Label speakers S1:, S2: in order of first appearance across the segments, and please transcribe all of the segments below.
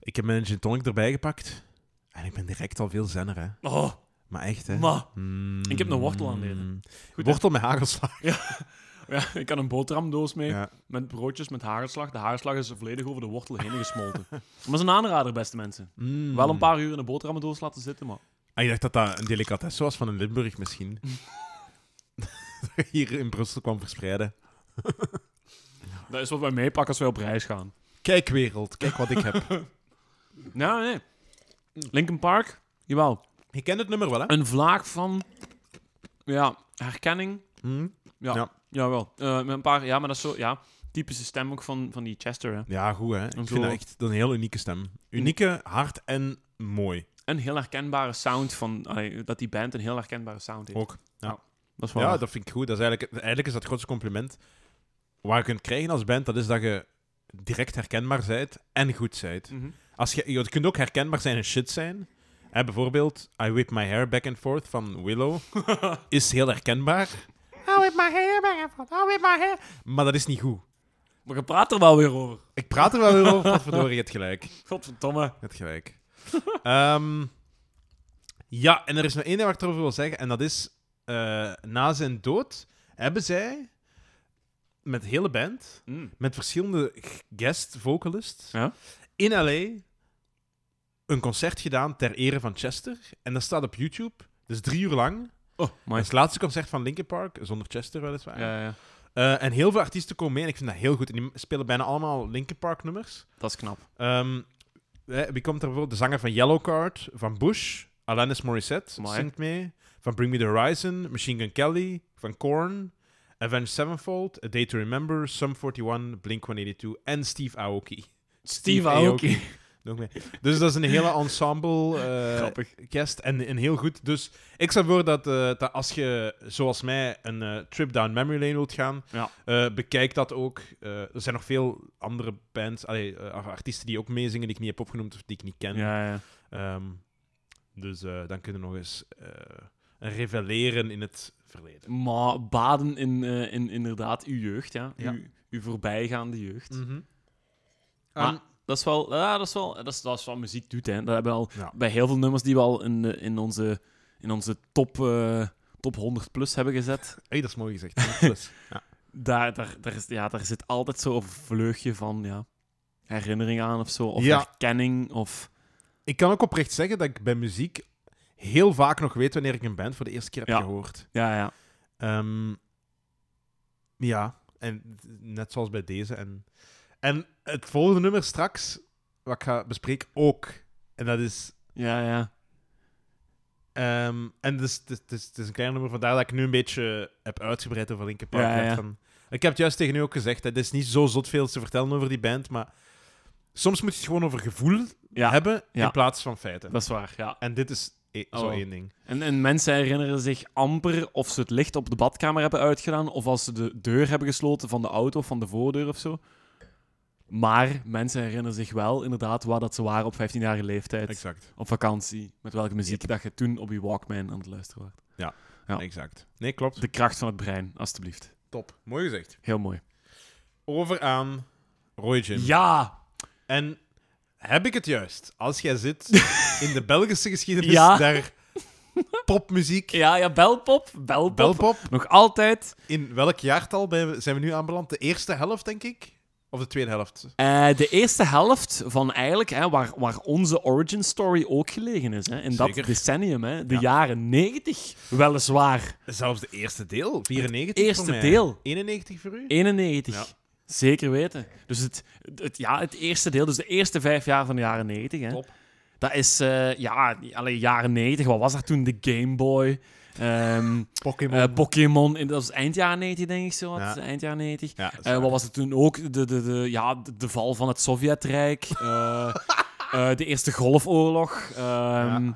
S1: Ik heb mijn gin tonic erbij gepakt. En ik ben direct al veel zenner, hè.
S2: Oh,
S1: Maar echt, hè.
S2: maar.
S1: Mm.
S2: Ik heb een wortel aan deden. Goed, hè?
S1: wortel met hagelslag.
S2: Ja, ik had een boterhamdoos mee
S1: Ja.
S2: met broodjes met hagelslag. De hagelslag is volledig over de wortel heen gesmolten. maar het is een aanrader, beste mensen.
S1: Mm.
S2: Wel een paar uur in een boterhamdoos laten zitten, maar...
S1: Ah, ik dacht dat dat een delicatesse was van een Limburg misschien.
S2: Mm.
S1: Dat Hier in Brussel kwam verspreiden.
S2: Dat is wat wij meepakken als wij op reis gaan.
S1: Kijk wereld, kijk wat ik heb.
S2: Nou, nee. Linkin Park, jawel.
S1: Je kent het nummer wel, hè?
S2: Een vlaag van... Ja, herkenning.
S1: Hm?
S2: Ja,
S1: Ja.
S2: jawel. Eh, met een paar... Ja, maar dat is zo... Ja, typische stem ook van, van die Chester, hè.
S1: Ja, goed, hè? Ik
S2: En
S1: vind
S2: zo.
S1: dat echt een heel unieke stem. Unieke, hard en mooi.
S2: Een heel herkenbare sound van... allee, dat die band een heel herkenbare sound heeft.
S1: Ook.
S2: Dat is wel
S1: Ja,
S2: waar.
S1: dat vind ik goed. Dat is eigenlijk, eigenlijk is dat het grootste compliment waar je kunt krijgen als band. Dat is dat je direct herkenbaar bent en goed bent.
S2: Mhm.
S1: Als je, je kunt ook herkenbaar zijn en shit zijn. Hè, bijvoorbeeld, I whip my hair back and forth van Willow is heel herkenbaar. I whip my hair back and forth, I whip my hair. Maar dat is niet goed.
S2: Maar je praat er wel weer over.
S1: Ik praat er wel weer over, verdorie, je hebt gelijk. Je
S2: Godverdomme.
S1: hebt gelijk. Ehm, ja, en er is nog één ding waar ik het over wil zeggen. En dat is, eh, na zijn dood hebben zij met de hele band,
S2: Mm.
S1: met verschillende g- guest vocalists,
S2: Ja?
S1: in L.A. een concert gedaan ter ere van Chester. En dat staat op YouTube. Dus drie uur lang.
S2: Oh,
S1: Maar
S2: mooi.
S1: het laatste concert van Linkin Park, zonder Chester weliswaar.
S2: Ja, ja.
S1: Eh, en heel veel artiesten komen mee en ik vind dat heel goed. En die spelen bijna allemaal Linkin Park nummers.
S2: Dat is knap.
S1: Ehm, hè, wie komt er voor? De zanger van Yellowcard, van Bush, Alanis Morissette
S2: Mooi.
S1: zingt mee. Van Bring Me The Horizon, Machine Gun Kelly, van Korn, Avenged Sevenfold, A Day To Remember, Sum 41, Blink-182 en Steve Aoki.
S2: Steve
S1: Aoki.
S2: Aoki.
S1: Nog mee. Dus dat is een hele ensemble eh,
S2: Grappig.
S1: guest en, en heel goed. Dus ik stel voor dat, eh, dat als je, zoals mij, een eh, trip down memory lane wilt gaan,
S2: Ja.
S1: eh, bekijk dat ook. Eh, er zijn nog veel andere bands, allee, eh, of artiesten die ook meezingen die ik niet heb opgenoemd of die ik niet ken.
S2: Ja, ja.
S1: Ehm, dus eh, dan kunnen we nog eens eh, reveleren in het verleden.
S2: Maar baden in, eh, in inderdaad uw jeugd, ja.
S1: Ja.
S2: Uw, uw voorbijgaande jeugd.
S1: Mm. Ah,
S2: Maar dat is wel... Ja, dat is wel... Dat is, dat is wat muziek doet, hè. Dat hebben we al
S1: Ja.
S2: bij heel veel nummers die we al in, de- in onze, in onze top, eh, top 100 plus hebben gezet.
S1: hey, dat is mooi gezegd. Plus. ja.
S2: Daar, daar, daar, is, ja, daar zit altijd zo'n vleugje van, ja... Herinnering aan of zo. Of
S1: Ja.
S2: herkenning, of...
S1: Ik kan ook oprecht zeggen dat ik bij muziek heel vaak nog weet wanneer ik een band voor de eerste keer heb
S2: Ja.
S1: gehoord.
S2: Ja, ja.
S1: Ehm, ja, en net zoals bij deze. En, en het volgende nummer straks, wat ik ga bespreken, ook. En dat is...
S2: Ja, ja.
S1: ehm, en dus het is, het is- het is een klein nummer, vandaar dat ik nu een beetje heb uitgebreid over Linkin Park.
S2: Ja,
S1: Ik dacht
S2: ja.
S1: van- ik heb het juist tegen u ook gezegd, hè, het is niet zo zot veel te vertellen over die band, maar soms moet je het gewoon over gevoel
S2: Ja,
S1: hebben
S2: ja.
S1: in plaats van feiten.
S2: dat is waar, ja.
S1: En dit is e- zo
S2: Oh.
S1: één ding.
S2: En, en mensen herinneren zich amper of ze het licht op de badkamer hebben uitgedaan of als ze de deur hebben gesloten van de auto of van de voordeur of zo. Maar mensen herinneren zich wel inderdaad waar dat ze waren op 15-jarige leeftijd,
S1: Exact.
S2: op vakantie, met welke muziek dat je toen op je Walkman aan het luisteren was. Ja.
S1: Exact. Nee, klopt.
S2: De kracht van het brein, alstublieft.
S1: Top. Mooi gezegd.
S2: Heel mooi.
S1: Over aan Roy Jim.
S2: Ja!
S1: En heb ik het juist? Als jij zit in de Belgische geschiedenis,
S2: Ja.
S1: daar popmuziek,
S2: Ja, ja, belpop, belpop.
S1: belpop.
S2: Nog altijd.
S1: In welk jaartal ben we- zijn we nu aanbeland? De eerste helft, denk ik? Of de tweede helft?
S2: Eh, de eerste helft van eigenlijk, hè, waar, waar onze origin story ook gelegen is. Hè, in dat
S1: Zeker.
S2: decennium, hè, de
S1: Ja.
S2: jaren 90, weliswaar.
S1: Zelfs de eerste deel, 94
S2: eerste
S1: voor mij.
S2: deel. E-
S1: 91 voor u?
S2: 91.
S1: Ja.
S2: Zeker weten. Dus het, het, ja, het eerste deel, dus de eerste vijf jaar van de jaren 90. Hè,
S1: Top.
S2: Dat is, eh, ja, alleen jaren 90, wat was dat toen? De Game Boy. ehm,
S1: Pokémon.
S2: eh, Pokémon, in- dat was eind jaren 90, denk ik zo. wat,
S1: Ja.
S2: Eind jaren 90.
S1: ja, dat is
S2: Eh,
S1: waar.
S2: wat was het toen ook? De, de, de, ja, de, de val van het Sovjetrijk. eh, eh, de Eerste Golfoorlog. ehm,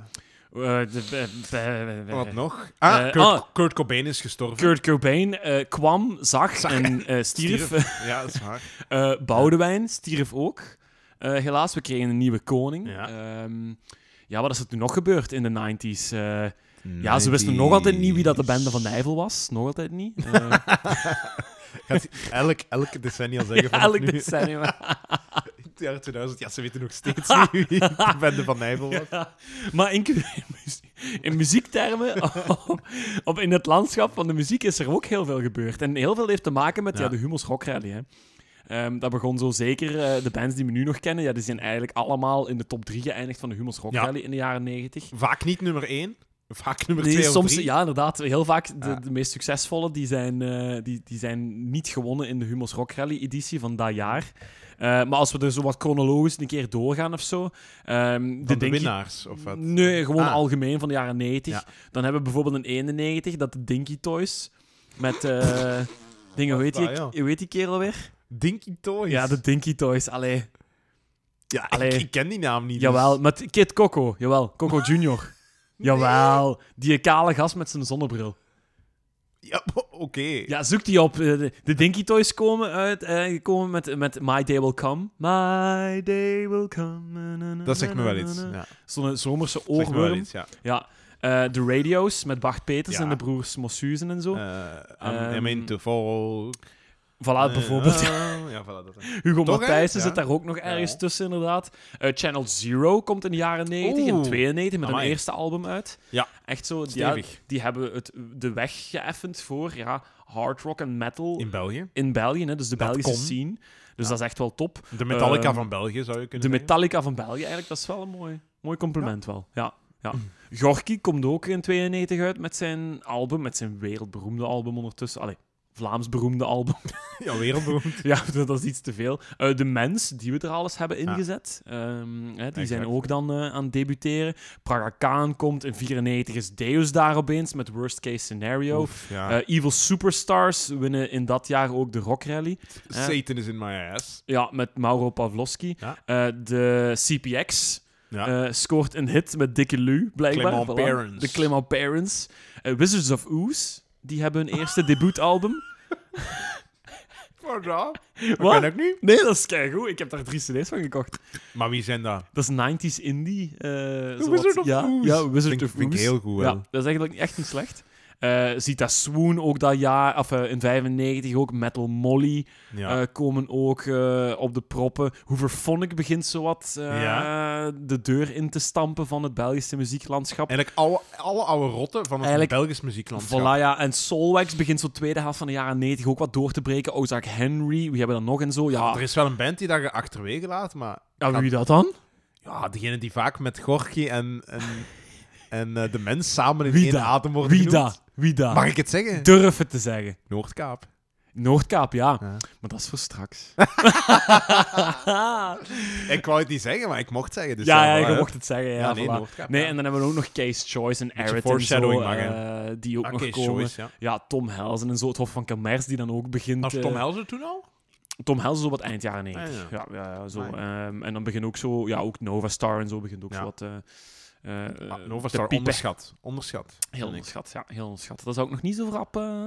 S2: eh, de- be- be- be-
S1: Wat nog? Ah,
S2: eh,
S1: Kurt,
S2: ah.
S1: Kurt Cobain is gestorven.
S2: Kurt Cobain eh, kwam, zag, en eh, stierf.
S1: Ja, dat is waar.
S2: Eh, Boudewijn stierf ook. Eh, helaas, we kregen een nieuwe koning.
S1: Ja.
S2: Ehm, ja, wat is er toen nog gebeurd in de 90s? Eh, ja, ze wisten nog altijd niet wie dat de bende van Nijvel was. Nog altijd niet. Eh,
S1: Gaat elk, elk decennium zeggen
S2: ja,
S1: vanaf
S2: elk
S1: nu.
S2: decennium.
S1: het jaar 2000. Ja, ze weten nog steeds niet wie de bende van Nijvel was.
S2: Ja, maar in, in muzie- in muziektermen, op, op- in het landschap van de muziek, is er ook heel veel gebeurd. En heel veel heeft te maken met ja.
S1: Ja.
S2: de Hummels Rock Rally. Hè. Ehm, dat begon zo zeker. eh, de bands die we nu nog kennen, ja, die zijn eigenlijk allemaal in de top 3 geëindigd van de Hummels Rock
S1: Ja.
S2: Rally in de jaren 90.
S1: Vaak niet nummer 1, vaak nummer 2
S2: Nee,
S1: of
S2: soms,
S1: drie.
S2: ja, inderdaad. Heel vaak de,
S1: Ja.
S2: de meest succesvolle die zijn, eh, die, die zijn niet gewonnen in de Hummels Rock Rally editie van dat jaar. Eh, maar als we er zo wat chronologisch een keer doorgaan of zo. ehm,
S1: Van
S2: dan
S1: de
S2: denk ik-
S1: winnaars, of wat?
S2: Nee, gewoon
S1: Ah.
S2: algemeen van de jaren 90.
S1: Ja.
S2: Dan hebben we bijvoorbeeld in 91 dat de Dinky Toys met eh, dingen, hoe heet,
S1: Wat is
S2: die,
S1: dat,
S2: hoe heet die kerel weer?
S1: Dinky Toys.
S2: Ah, Ja, de Dinky Toys, allee.
S1: Ja, ik-
S2: Allee.
S1: Ik, ken die naam niet. dus-
S2: Jawel, met Kid Coco, jawel, Coco Junior. Jawel, die kale gast met zijn zonnebril.
S1: Ja, oké.
S2: Ja, zoek die op. Eh, De, de Dinky Toys komen uit, eh, komen met, met My Day Will Come. My Day Will Come. na, na, na,
S1: Dat zegt me wel
S2: na, na,
S1: iets.
S2: na.
S1: Ja,
S2: Zo'n zomerse
S1: zegt me wel
S2: oorworm.
S1: iets, ja.
S2: Ja. Eh, de Radio's met Bart Peters
S1: Ja.
S2: en de broers Mossuzen en zo.
S1: Eh, I'm- I'm
S2: Ehm,
S1: into folk.
S2: voilà,
S1: Eh,
S2: bijvoorbeeld.
S1: ah, ja, voilà, dat.
S2: Hugo
S1: Toch, hè?
S2: Matthijssen
S1: Ja.
S2: zit daar ook nog ergens
S1: Ja.
S2: tussen, inderdaad. Eh, Channel Zero komt in de jaren 90, in
S1: Oeh.
S2: 92, met hun
S1: Amai.
S2: eerste album uit.
S1: Ja.
S2: Echt zo, die,
S1: Stevig.
S2: die hebben het, de weg geëffend voor ja, hard rock en metal
S1: In
S2: in,
S1: België.
S2: België, hè, dus de
S1: Dat
S2: Belgische
S1: kon.
S2: scene. Dus
S1: Ja.
S2: dat is echt wel top.
S1: De Metallica
S2: Ehm,
S1: van België, zou je kunnen
S2: De
S1: zeggen.
S2: Metallica van België, eigenlijk, dat is wel een mooi, mooi compliment wel. Ja, ja.
S1: Mm.
S2: Gorky komt ook in 92 uit met zijn album, met zijn wereldberoemde album ondertussen. Allee, Vlaams beroemde album.
S1: Ja, wereldberoemd.
S2: ja, dat is iets te veel. Eh, de Mens, die we er alles hebben ingezet, ehm, hè, die zijn
S1: Exact.
S2: ook dan eh, aan het debuteren. Praga Khan komt, in 94 is Deus daar opeens met Worst Case Scenario.
S1: Oef, ja.
S2: Eh, Evil Superstars winnen in dat jaar ook de Rock Rally. eh.
S1: Satan is in my ass.
S2: Ja, met Mauro Pavlovski.
S1: Ja.
S2: Eh, de CPX
S1: Ja.
S2: eh, scoort een hit met Dikke Lu, blijkbaar.
S1: Clement Parents.
S2: De Clement Parents. Eh, Wizards of Ooze, die hebben hun eerste debuutalbum.
S1: Wat dat?
S2: Wat?
S1: Wat? Ken ik niet.
S2: Nee, dat is keigoed. Ik heb daar drie cd's van gekocht.
S1: Maar wie zijn dat?
S2: Dat is 90s indie. eh, zowat-
S1: Wizard of
S2: ja,
S1: Ooze.
S2: Ja, Wizard
S1: Vind ik-
S2: of
S1: vind ik
S2: Ooze.
S1: heel goed,
S2: Ja,
S1: wel.
S2: dat is eigenlijk echt niet slecht. Eh Zita Swoon ook dat jaar, of eh, in 95 ook, Metal Molly.
S1: Ja.
S2: eh, komen ook eh, op de proppen. Hooverphonic begint zowat eh, de deur in te stampen van het Belgische muzieklandschap.
S1: Eigenlijk alle, alle oude rotten van het
S2: Eigenlijk-
S1: Belgisch muzieklandschap.
S2: Voilà, ja. En Solwax begint zo tweede helft van de jaren 90 ook wat door te breken. Ozark Henry, wie hebben we dan nog en zo?
S1: Er
S2: Ja,
S1: is wel een band die dat je achterwege laat, maar...
S2: ja wie dat dan?
S1: Ja, degene die vaak met Gorky en, en, en eh, de mens samen in
S2: Wie
S1: één
S2: dat?
S1: adem worden
S2: Wie
S1: genoemd.
S2: dat? Wie dat?
S1: Mag ik het zeggen?
S2: Durf het te zeggen.
S1: Noordkaap.
S2: Noordkaap, ja.
S1: Ja.
S2: Maar dat is voor straks.
S1: Ik wou het niet zeggen, maar ik mocht zeggen. Dus
S2: ja, ja,
S1: voilà,
S2: je
S1: hè.
S2: mocht het zeggen. Ja,
S1: Ja, nee,
S2: voilà.
S1: Noordkaap,
S2: Nee,
S1: ja.
S2: en dan hebben we ook nog Case Choice en Arrett en zo,
S1: foreshadowing mag, hè.
S2: eh, die ook
S1: Ah,
S2: nog
S1: Kees
S2: komen.
S1: Joyce, ja.
S2: Ja, Tom Helzen en zo, het Hof van Kamers, die dan ook begint...
S1: Was
S2: eh,
S1: Tom Helzer toen al?
S2: Tom Helzen zo wat eind jaren 90.
S1: Ah,
S2: ja. Ja, ja, zo.
S1: Ah,
S2: Ehm, en dan begint ook zo... Ja, ook Nova Star en zo begint ook
S1: Ja.
S2: zo wat... eh eh, eh,
S1: Ah,
S2: te
S1: Novastar,
S2: piepen.
S1: onderschat. Onderschat.
S2: Heel
S1: vind ik.
S2: onderschat, ja. Heel onderschat. Dat zou ik nog niet zo rap eh, eh,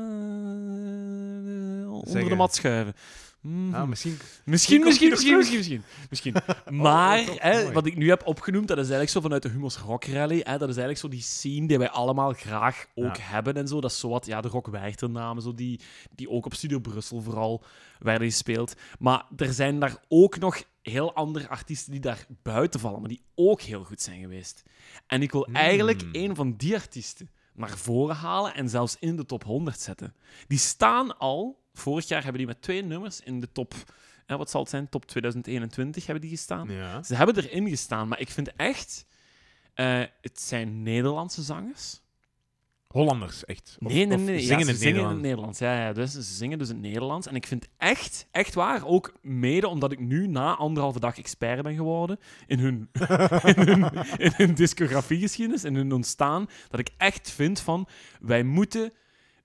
S2: onder de
S1: Zeggen.
S2: mat schuiven. Mhm.
S1: Ah, misschien...
S2: Misschien,
S1: Hier
S2: misschien,
S1: komt
S2: misschien,
S1: hij
S2: misschien, misschien, misschien. Maar
S1: oh, oh,
S2: hè,
S1: mooi.
S2: wat ik nu heb opgenoemd, dat is eigenlijk zo vanuit de Hummels Rock Rally. Hè, dat is eigenlijk zo die scene die wij allemaal graag ook
S1: Ja.
S2: hebben en zo. Dat is zo wat, ja, de Rock Werchter namen, zo die, die ook op Studio Brussel vooral werden gespeeld. Maar er zijn daar ook nog heel andere artiesten die daar buiten vallen, maar die ook heel goed zijn geweest. En ik wil
S1: Hmm.
S2: eigenlijk een van die artiesten naar voren halen en zelfs in de top 100 zetten. Die staan al, vorig jaar hebben die met twee nummers in de top, hè, wat zal het zijn, top 2021 hebben die gestaan.
S1: Ja.
S2: Ze hebben erin gestaan, maar ik vind echt, eh, het zijn Nederlandse zangers.
S1: Hollanders, echt. Of-
S2: nee, nee,
S1: of
S2: nee. ja,
S1: Zingen in
S2: ze
S1: het
S2: zingen in het
S1: Nederlands.
S2: Nederlands. Ja, ja, dus ze zingen dus in het Nederlands. En ik vind echt, echt waar, ook mede omdat ik nu na anderhalve dag expert ben geworden in hun, in hun, in hun discografiegeschiedenis, in hun ontstaan, dat ik echt vind van, wij moeten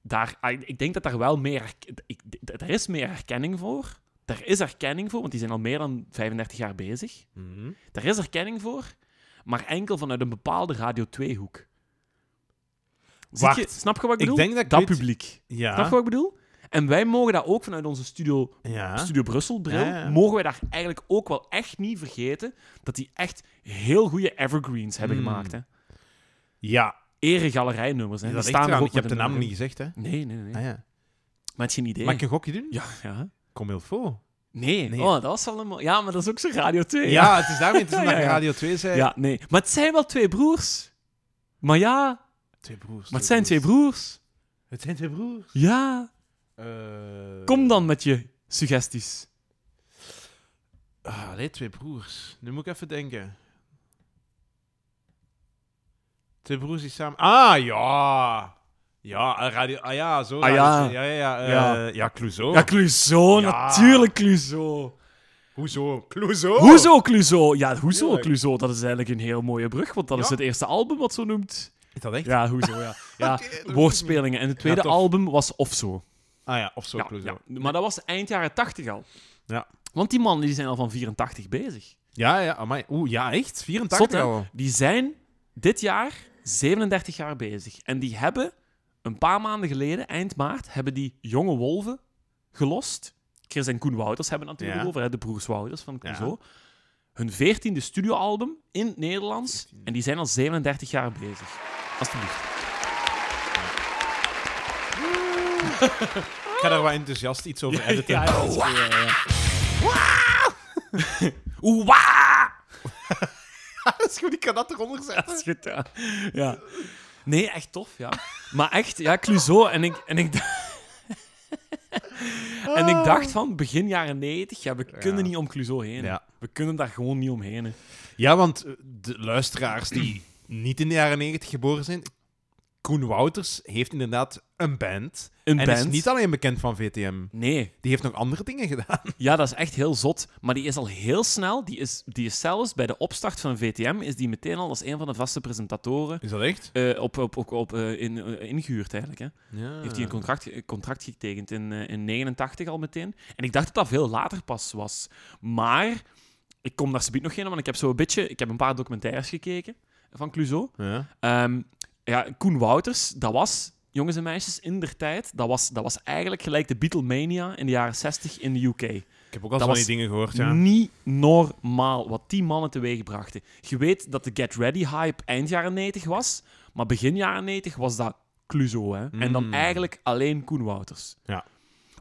S2: daar... ah, Ik denk dat daar wel meer... herk- Ik, d- er is meer erkenning voor. Er is erkenning voor, want die zijn al meer dan 35 jaar bezig.
S1: Mhm.
S2: Daar is erkenning voor, maar enkel vanuit een bepaalde Radio 2-hoek.
S1: Wacht.
S2: Je, snap je wat
S1: Ik
S2: ik bedoel?
S1: denk dat ik
S2: dat
S1: weet- Ah.
S2: publiek. Snap je
S1: Ja.
S2: wat ik bedoel? En wij mogen dat ook vanuit onze Studio,
S1: Ja.
S2: studio Brussel-bril,
S1: Ah. Ja, ja.
S2: mogen wij daar eigenlijk ook wel echt niet vergeten dat die echt heel goede evergreens hebben
S1: Mm.
S2: gemaakt. Hè?
S1: Ja.
S2: Eregalerijnummers. Hè?
S1: Dat
S2: Die
S1: ligt
S2: staan er
S1: eraan.
S2: ook
S1: Je hebt de
S2: met een
S1: naam niet
S2: nummer
S1: gezegd, hè?
S2: in. Nee, nee, nee. nee.
S1: Ah, ja.
S2: Maar het is geen idee.
S1: Mag ik een gokje doen?
S2: Ja, ja.
S1: Kom heel veel.
S2: Nee,
S1: Nee.
S2: Oh, dat was wel een... mo- Ja, maar dat is ook zo Radio 2.
S1: Ja, het is daarmee. Het is omdat
S2: Ja,
S1: je
S2: ja.
S1: Radio 2 zei.
S2: Ja, nee. Maar het zijn wel twee broers. Maar ja,
S1: Twee broers.
S2: maar het zijn twee broers.
S1: Het zijn twee broers.
S2: Ja.
S1: Eh,
S2: Kom dan met je suggesties.
S1: Ah, allee, twee broers. Nu moet ik even denken. Twee broers die samen... Ah, ja! Ja, eh, radio... Ah ja, zo.
S2: Ah,
S1: radio
S2: ja.
S1: twee. Ja, ja, ja. eh,
S2: Ja.
S1: ja. Clouseau.
S2: Ja, Cluzo,
S1: Ja.
S2: natuurlijk Cluzo.
S1: Hoezo? Clouseau?
S2: Hoezo Cluzo? Ja, hoezo
S1: Tuurlijk.
S2: Cluzo? Dat is eigenlijk een heel mooie brug, want dat
S1: Ja.
S2: is het eerste album wat zo noemt.
S1: Is dat echt?
S2: Ja, hoezo, ja. ja
S1: Oké, dat wist ik
S2: woordspelingen. En het tweede
S1: tof.
S2: album was Of Zo.
S1: Ah ja, of zo,
S2: Ja,
S1: Clouseau.
S2: ja. Maar dat was eind jaren 80 al.
S1: Ja.
S2: Want die mannen die zijn al van 84 bezig.
S1: Ja, ja, amai. Oeh, ja, echt? 84
S2: Zot, hè?
S1: al.
S2: Die zijn dit jaar 37 jaar bezig. En die hebben een paar maanden geleden, eind maart, hebben die jonge wolven gelost. Chris en Koen Wouters hebben het natuurlijk
S1: Ja.
S2: over, hè, de broers Wouters van
S1: Ja.
S2: Clouseau. Hun 14e studioalbum in het Nederlands. En die zijn al 37 jaar bezig. Alsjeblieft.
S1: Ik ga daar wat enthousiast iets over editen.
S2: Ja, ja, ja. Oeh,
S1: dat is goed. Ik kan dat eronder zetten.
S2: Dat is goed, ja. ja. Nee, echt tof, ja. Maar echt, ja, Clouseau. En ik, en ik, d- en ik dacht van, begin jaren 90, Ah. ja, we kunnen niet om Clouseau heen.
S1: Ja.
S2: We kunnen daar gewoon niet omheen. hè.
S1: Ja, want eh, de luisteraars die niet in de jaren 90 geboren zijn. Koen Wouters heeft inderdaad een band.
S2: Een
S1: en
S2: band.
S1: is niet alleen bekend van VTM.
S2: Nee,
S1: Die heeft nog andere dingen gedaan.
S2: ja, dat is echt heel zot. Maar die is al heel snel, die is, die is zelfs bij de opstart van VTM, is die meteen al als een van de vaste presentatoren
S1: Is dat echt?
S2: eh, op, op, op, op, eh, in, eh, ingehuurd eigenlijk. Hè.
S1: Ja.
S2: heeft hij een contract, een contract getekend in, eh, in 89 al meteen. En ik dacht dat dat veel later pas was. Maar ik kom daar subiet nog in, want ik heb zo een beetje... Ik heb een paar documentaires gekeken van Clouseau.
S1: Ja.
S2: Ehm, ja, Koen Wouters, dat was, jongens en meisjes, in der tijd... Dat was, dat was eigenlijk gelijk de Beatlemania in de jaren 60 in de UK.
S1: Ik heb ook al
S2: Dat
S1: van
S2: was
S1: die dingen gehoord, ja.
S2: Niet normaal wat die mannen teweeg brachten. Je weet dat de Get Ready hype eind jaren 90 was, maar begin jaren 90 was dat Clouseau. Hè? En dan
S1: Mm.
S2: eigenlijk alleen Koen Wouters.
S1: Ja.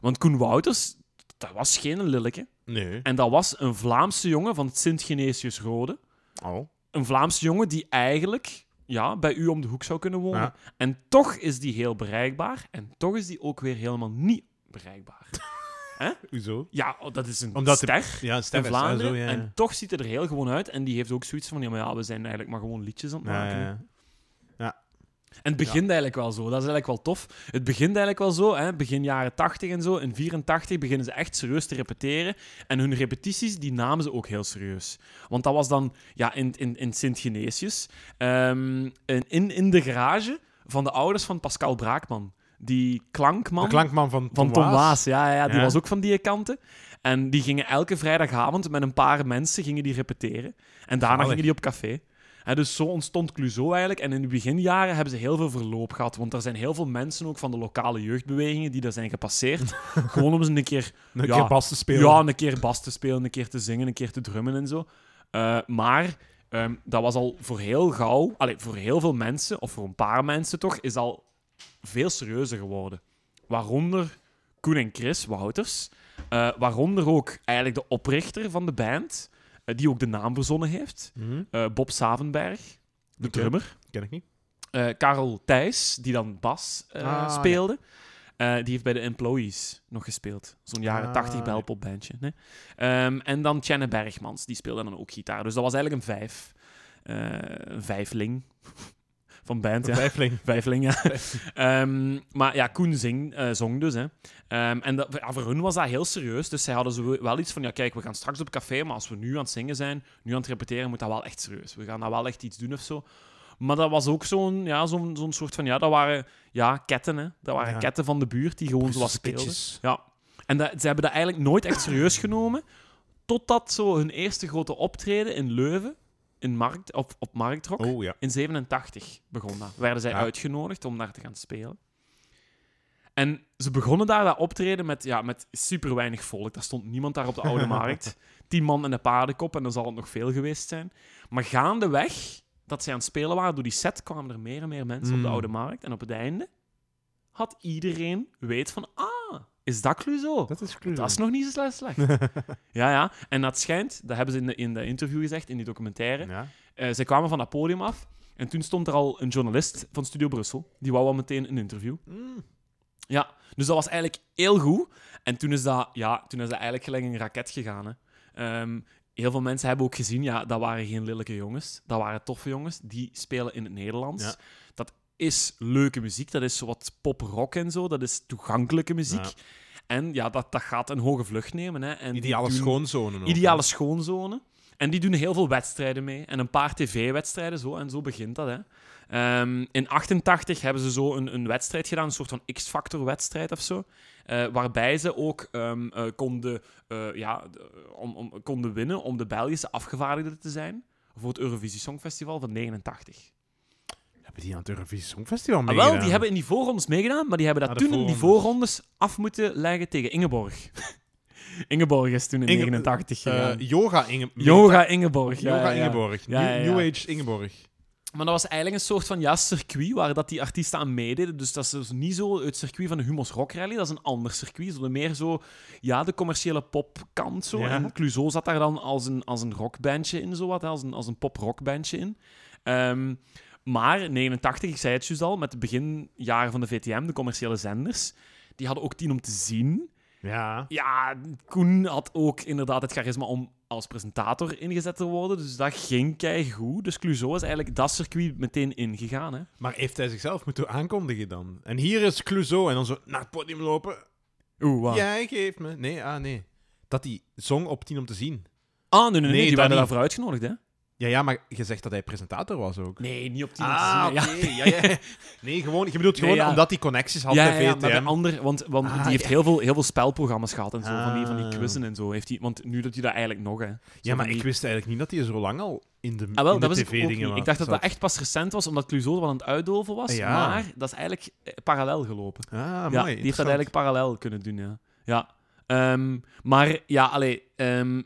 S2: Want Koen Wouters, dat was geen lilleke.
S1: Nee.
S2: En dat was een Vlaamse jongen van het Sint-Genesius Rode.
S1: Oh.
S2: Een Vlaamse jongen die eigenlijk ja, bij u om de hoek zou kunnen wonen.
S1: Ja.
S2: En toch is die heel bereikbaar. En toch is die ook weer helemaal niet bereikbaar.
S1: Hoezo?
S2: Ja, oh, dat is een
S1: Omdat de-
S2: ster
S1: Ja, een
S2: in
S1: stem is, hè,
S2: Vlaanderen.
S1: ah, zo, ja.
S2: En toch ziet het er heel gewoon uit. En die heeft ook zoiets van: ja, maar ja, we zijn eigenlijk maar gewoon liedjes aan het
S1: Ja,
S2: maken.
S1: ja,
S2: hè.
S1: ja.
S2: En het begint eigenlijk wel zo. Dat is eigenlijk wel tof. Het begint eigenlijk wel zo. Hè? Begin jaren 80 en zo. In 84 beginnen ze echt serieus te repeteren. En hun repetities, die namen ze ook heel serieus. Want dat was dan ja, in, in, in Sint-Genesius. Ehm, in, in, in de garage van de ouders van Pascal Braakman. Die klankman
S1: De klankman van Tom,
S2: van Tom Waas. Ja, ja, ja, die
S1: Ja.
S2: was ook van die kanten. En die gingen elke vrijdagavond met een paar mensen gingen die repeteren. En daarna
S1: Zalig.
S2: gingen die op café. Hè, dus zo ontstond Clouseau eigenlijk. En in de beginjaren hebben ze heel veel verloop gehad. Want er zijn heel veel mensen ook van de lokale jeugdbewegingen die daar zijn gepasseerd. gewoon om ze een keer
S1: Een
S2: Ja.
S1: keer bas te spelen.
S2: ja, een keer bas te spelen, een keer te zingen, een keer te drummen en zo. Eh, maar ehm, dat was al voor heel gauw, allee, voor heel veel mensen, of voor een paar mensen toch, is al veel serieuzer geworden. Waaronder Koen en Chris Wouters. Eh, waaronder ook eigenlijk de oprichter van de band, eh, die ook de naam verzonnen heeft.
S1: Mhm.
S2: eh, Bob Savenberg, de
S1: Oké.
S2: drummer.
S1: Ken ik niet.
S2: Eh, Karel Thijs, die dan bas eh,
S1: Ah,
S2: speelde. Eh, die heeft bij de Employees nog gespeeld. Zo'n jaren
S1: Ah,
S2: 80
S1: ja.
S2: belpopbandje. Nee? Ehm, en dan Tjenne Bergmans, die speelde dan ook gitaar. Dus dat was eigenlijk een vijf. eh, een vijfling. Van band,
S1: Een
S2: ja.
S1: twijfeling.
S2: Vijfling, ja. Ehm, maar ja, Koen zing, eh, zong dus. Hè. Ehm, en dat, ja, voor hun was dat heel serieus. Dus zij hadden zo wel iets van: ja, kijk, we gaan straks op café, maar als we nu aan het zingen zijn, nu aan het repeteren, moet dat wel echt serieus. We gaan daar wel echt iets doen of zo. Maar dat was ook zo'n ja, zo'n zo'n soort van: ja, dat waren ja, ketten. Hè. Dat waren
S1: Ja.
S2: ketten van de buurt die gewoon zo wat speelden.
S1: Sketches.
S2: Ja. En dat, ze hebben dat eigenlijk nooit echt serieus genomen. Totdat zo hun eerste grote optreden in Leuven, in markt, op, op Marktrok.
S1: Oh ja.
S2: In 87 begon dat. Werden zij
S1: Ja.
S2: uitgenodigd om daar te gaan spelen. En ze begonnen daar dat optreden met, ja, met super weinig volk. Daar stond niemand daar op de Oude Markt. Tien man en een paardenkop, en dan zal het nog veel geweest zijn. Maar gaandeweg, dat zij aan het spelen waren, door die set kwamen er meer en meer mensen op de
S1: Mm.
S2: Oude Markt. En op het einde had iedereen weet van, ah, Is dat Clouseau?
S1: Dat is Clouseau.
S2: Dat is nog niet zo slecht. ja, ja. En dat schijnt, dat hebben ze in, de, in dat interview gezegd, in die documentaire.
S1: Ja.
S2: Eh, zij kwamen van dat podium af. En toen stond er al een journalist van Studio Brussel. Die wou al meteen een interview. Ja, dus dat was eigenlijk heel goed. En toen is dat, ja, toen is dat eigenlijk gelijk een raket gegaan. Hè. Ehm, heel veel mensen hebben ook gezien, ja, dat waren geen lelijke jongens. Dat waren toffe jongens. Die spelen in het Nederlands.
S1: Ja.
S2: Dat is leuke muziek. Dat is wat pop-rock en zo. Dat is toegankelijke muziek.
S1: Ja.
S2: En ja, dat, dat gaat een hoge vlucht nemen. Hè. En die
S1: Ideale
S2: doen-
S1: schoonzone. ook,
S2: Ideale schoonzone. En die doen heel veel wedstrijden mee. En een paar tv-wedstrijden zo. En zo begint dat. Hè. Ehm, in 88 hebben ze zo een, een wedstrijd gedaan. Een soort van X-Factor-wedstrijd of zo. eh, waarbij ze ook ehm, eh, konden, eh, ja, de- om, om, konden winnen om de Belgische afgevaardigde te zijn. Voor het Eurovisie Songfestival van 89.
S1: hè. Hebben die aan het Eurovisie Songfestival
S2: Ah,
S1: meegedaan?
S2: wel, die hebben in die voorrondes meegedaan, maar die hebben dat
S1: Ah, de
S2: toen in die
S1: voorrondes.
S2: voorrondes af moeten leggen tegen Ingeborg. Ingeborg is toen in
S1: Inge-
S2: 89 gegaan.
S1: Eh, yoga Inge
S2: Yoga Ingeborg. Ja,
S1: Yoga
S2: ja, ja.
S1: Ingeborg.
S2: Ja, ja,
S1: New, New
S2: ja.
S1: Age Ingeborg.
S2: Maar dat was eigenlijk een soort van ja, circuit waar dat die artiesten aan meededen. Dus dat is dus niet zo het circuit van de Humo's Rock Rally. Dat is een ander circuit. Zo de meer zo, ja, de commerciële popkant zo.
S1: Ja.
S2: En Clouseau zat daar dan als een, als een rockbandje in, zo wat, hè, als een, als een pop-rockbandje in. Ehm, maar 89, ik zei het juist al, met de beginjaren van de VTM, de commerciële zenders, die hadden ook tien om te zien.
S1: Ja.
S2: Ja, Koen had ook inderdaad het charisma om als presentator ingezet te worden. Dus dat ging keigoed. Dus Clouseau is eigenlijk dat circuit meteen ingegaan. Hè?
S1: Maar heeft hij zichzelf moeten aankondigen dan? En hier is Clouseau. En dan zo naar het podium lopen.
S2: Oeh, wow.
S1: Jij geeft me. Nee, ah nee. Dat die zong op tien om te zien.
S2: Ah, nee, nee, nee,
S1: Nee,
S2: die
S1: dat
S2: werden
S1: niet.
S2: daarvoor uitgenodigd, hè?
S1: Ja, ja, maar je zegt dat hij presentator was ook.
S2: Nee, niet op die
S1: Ah,
S2: ja.
S1: oké. Ja, ja. Nee, gewoon, je bedoelt gewoon
S2: Nee, ja.
S1: omdat hij connecties had
S2: Ja, ja,
S1: bij
S2: ja, maar
S1: VTM.
S2: bij ander, want, want
S1: Ah,
S2: die heeft
S1: ja.
S2: heel, veel, heel veel spelprogramma's gehad en zo, van, die, van die
S1: Ah.
S2: quizzen en zo. Heeft hij, want nu doet hij dat eigenlijk nog, hè. Zo
S1: ja, maar
S2: van die-
S1: ik wist eigenlijk niet dat hij zo lang al in de,
S2: Ah, wel,
S1: in de
S2: dat was ik ook
S1: tv-dingen
S2: niet.
S1: was.
S2: Ik dacht dat dat echt pas recent was, omdat Clouseau wel aan het uitdoven was.
S1: Ja.
S2: Maar dat is eigenlijk eh, parallel gelopen.
S1: Ah,
S2: ja,
S1: mooi.
S2: die heeft dat
S1: interessant.
S2: eigenlijk parallel kunnen doen, ja. ja. Ehm, maar ja, allee, ehm,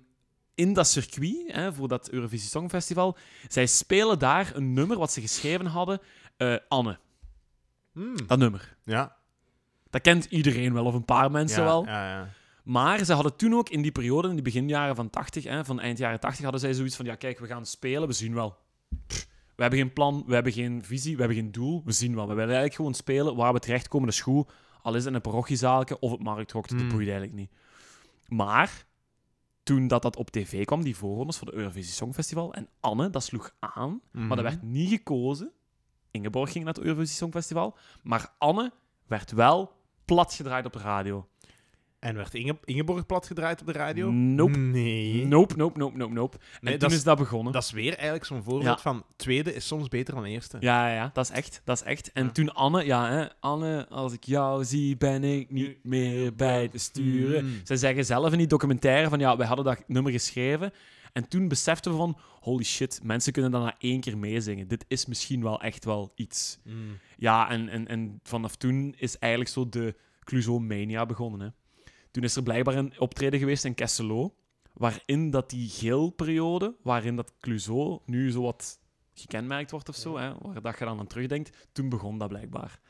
S2: in dat circuit hè, voor dat Eurovisie Songfestival, zij spelen daar een nummer wat ze geschreven hadden, eh, Anne,
S1: Hmm,
S2: dat nummer.
S1: Ja.
S2: Dat kent iedereen wel, of een paar mensen
S1: ja,
S2: wel.
S1: Ja, ja.
S2: Maar ze hadden toen ook in die periode, in die beginjaren van 80, hè, van eind jaren 80, hadden zij zoiets van, ja kijk, we gaan spelen, we zien wel. Pff, we hebben geen plan, we hebben geen visie, we hebben geen doel, we zien wel. We willen eigenlijk gewoon spelen waar we terechtkomen, dat is goed. Al is het in een parochiezaalke of het markthok, dat
S1: Hmm.
S2: boeit eigenlijk niet. Maar toen dat, dat op tv kwam, die voorrondes voor de Eurovisie Songfestival, en Anne, dat sloeg aan, maar dat
S1: Mhm.
S2: werd niet gekozen. Ingeborg ging naar het Eurovisie Songfestival, maar Anne werd wel platgedraaid op de radio.
S1: En werd Inge Ingeborg platgedraaid op de radio?
S2: Nope.
S1: Nee.
S2: Nope, nope, nope, nope, nope. En
S1: Nee,
S2: toen
S1: dat
S2: is,
S1: is-
S2: dat begonnen.
S1: Dat is weer eigenlijk zo'n voorbeeld
S2: Ja.
S1: van tweede is soms beter dan eerste.
S2: Ja, ja, ja, dat is echt, dat is echt. En
S1: Ja.
S2: toen Anne, ja, hè, Anne, als ik jou zie, ben ik niet meer bij Hmm. te sturen.
S1: Mm.
S2: Zij zeggen zelf in die documentaire van, ja, wij hadden dat nummer geschreven. En toen beseften we van, holy shit, mensen kunnen dat na één keer meezingen. Dit is misschien wel echt wel iets.
S1: Mm.
S2: Ja, en, en, en vanaf toen is eigenlijk zo de Cluzo-mania begonnen. Hè. Toen is er blijkbaar een optreden geweest in Kesselo, waarin dat die geelperiode, waarin dat Cluzo nu zo wat gekenmerkt wordt of zo, hè, waar dat je dan aan terugdenkt, toen begon dat blijkbaar.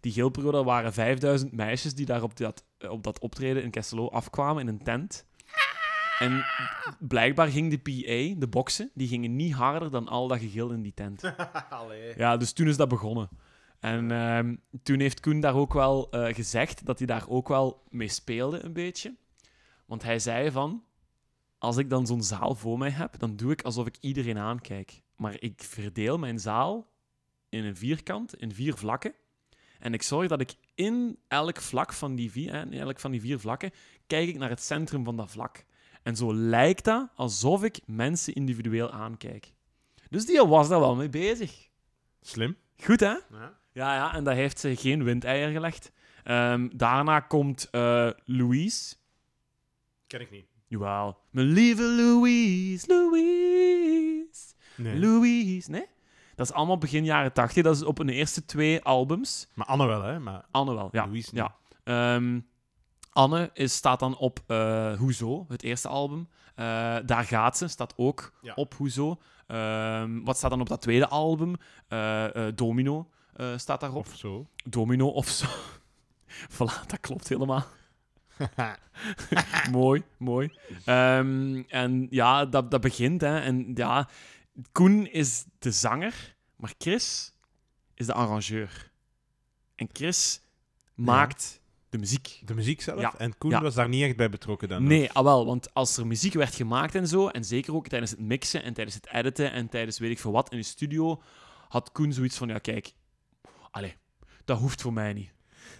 S2: Die geelperiode waren 5000 meisjes die daar op dat, op dat optreden in Kesselo afkwamen in een tent. En blijkbaar ging de PA, de boksen, die gingen niet harder dan al dat gegil in die tent.
S1: Allee.
S2: Ja, dus toen is dat begonnen. En ehm, toen heeft Koen daar ook wel eh, gezegd dat hij daar ook wel mee speelde, een beetje. Want hij zei van, als ik dan zo'n zaal voor mij heb, dan doe ik alsof ik iedereen aankijk. Maar ik verdeel mijn zaal in een vierkant, in vier vlakken. En ik zorg dat ik in elk vlak van die vier, hè, in elk van die vier vlakken, kijk ik naar het centrum van dat vlak. En zo lijkt dat alsof ik mensen individueel aankijk. Dus die was daar wel mee bezig.
S1: Slim.
S2: Goed, hè?
S1: Ja.
S2: Ja, ja, en daar heeft ze geen windeier gelegd. Ehm, daarna komt eh, Louise.
S1: Ken ik niet.
S2: Jawel. Mijn lieve Louise, Louise,
S1: Nee.
S2: Louise. Nee? Dat is allemaal begin jaren 80. Dat is op hun eerste twee albums.
S1: maar Anne wel, hè? Maar
S2: Anne wel, ja.
S1: Louise niet.
S2: ja. Ehm, Anne is, staat dan op eh Hoezo, het eerste album. Eh, daar gaat ze, staat ook
S1: Ja.
S2: op Hoezo. Ehm, wat staat dan op dat tweede album? Eh, eh, Domino eh, staat daarop.
S1: Of zo.
S2: Domino of zo. voilà, dat klopt helemaal. mooi, mooi. Ehm, en ja, dat, dat begint. Hè. En ja, Koen is de zanger, maar Chris is de arrangeur. En Chris maakt de muziek.
S1: De muziek zelf?
S2: Ja.
S1: En Koen
S2: Ja.
S1: was daar niet echt bij betrokken dan?
S2: Nee, ah wel, want als er muziek werd gemaakt en zo, en zeker ook tijdens het mixen en tijdens het editen en tijdens weet ik veel wat in de studio, had Koen zoiets van, ja kijk, allee, dat hoeft voor mij niet.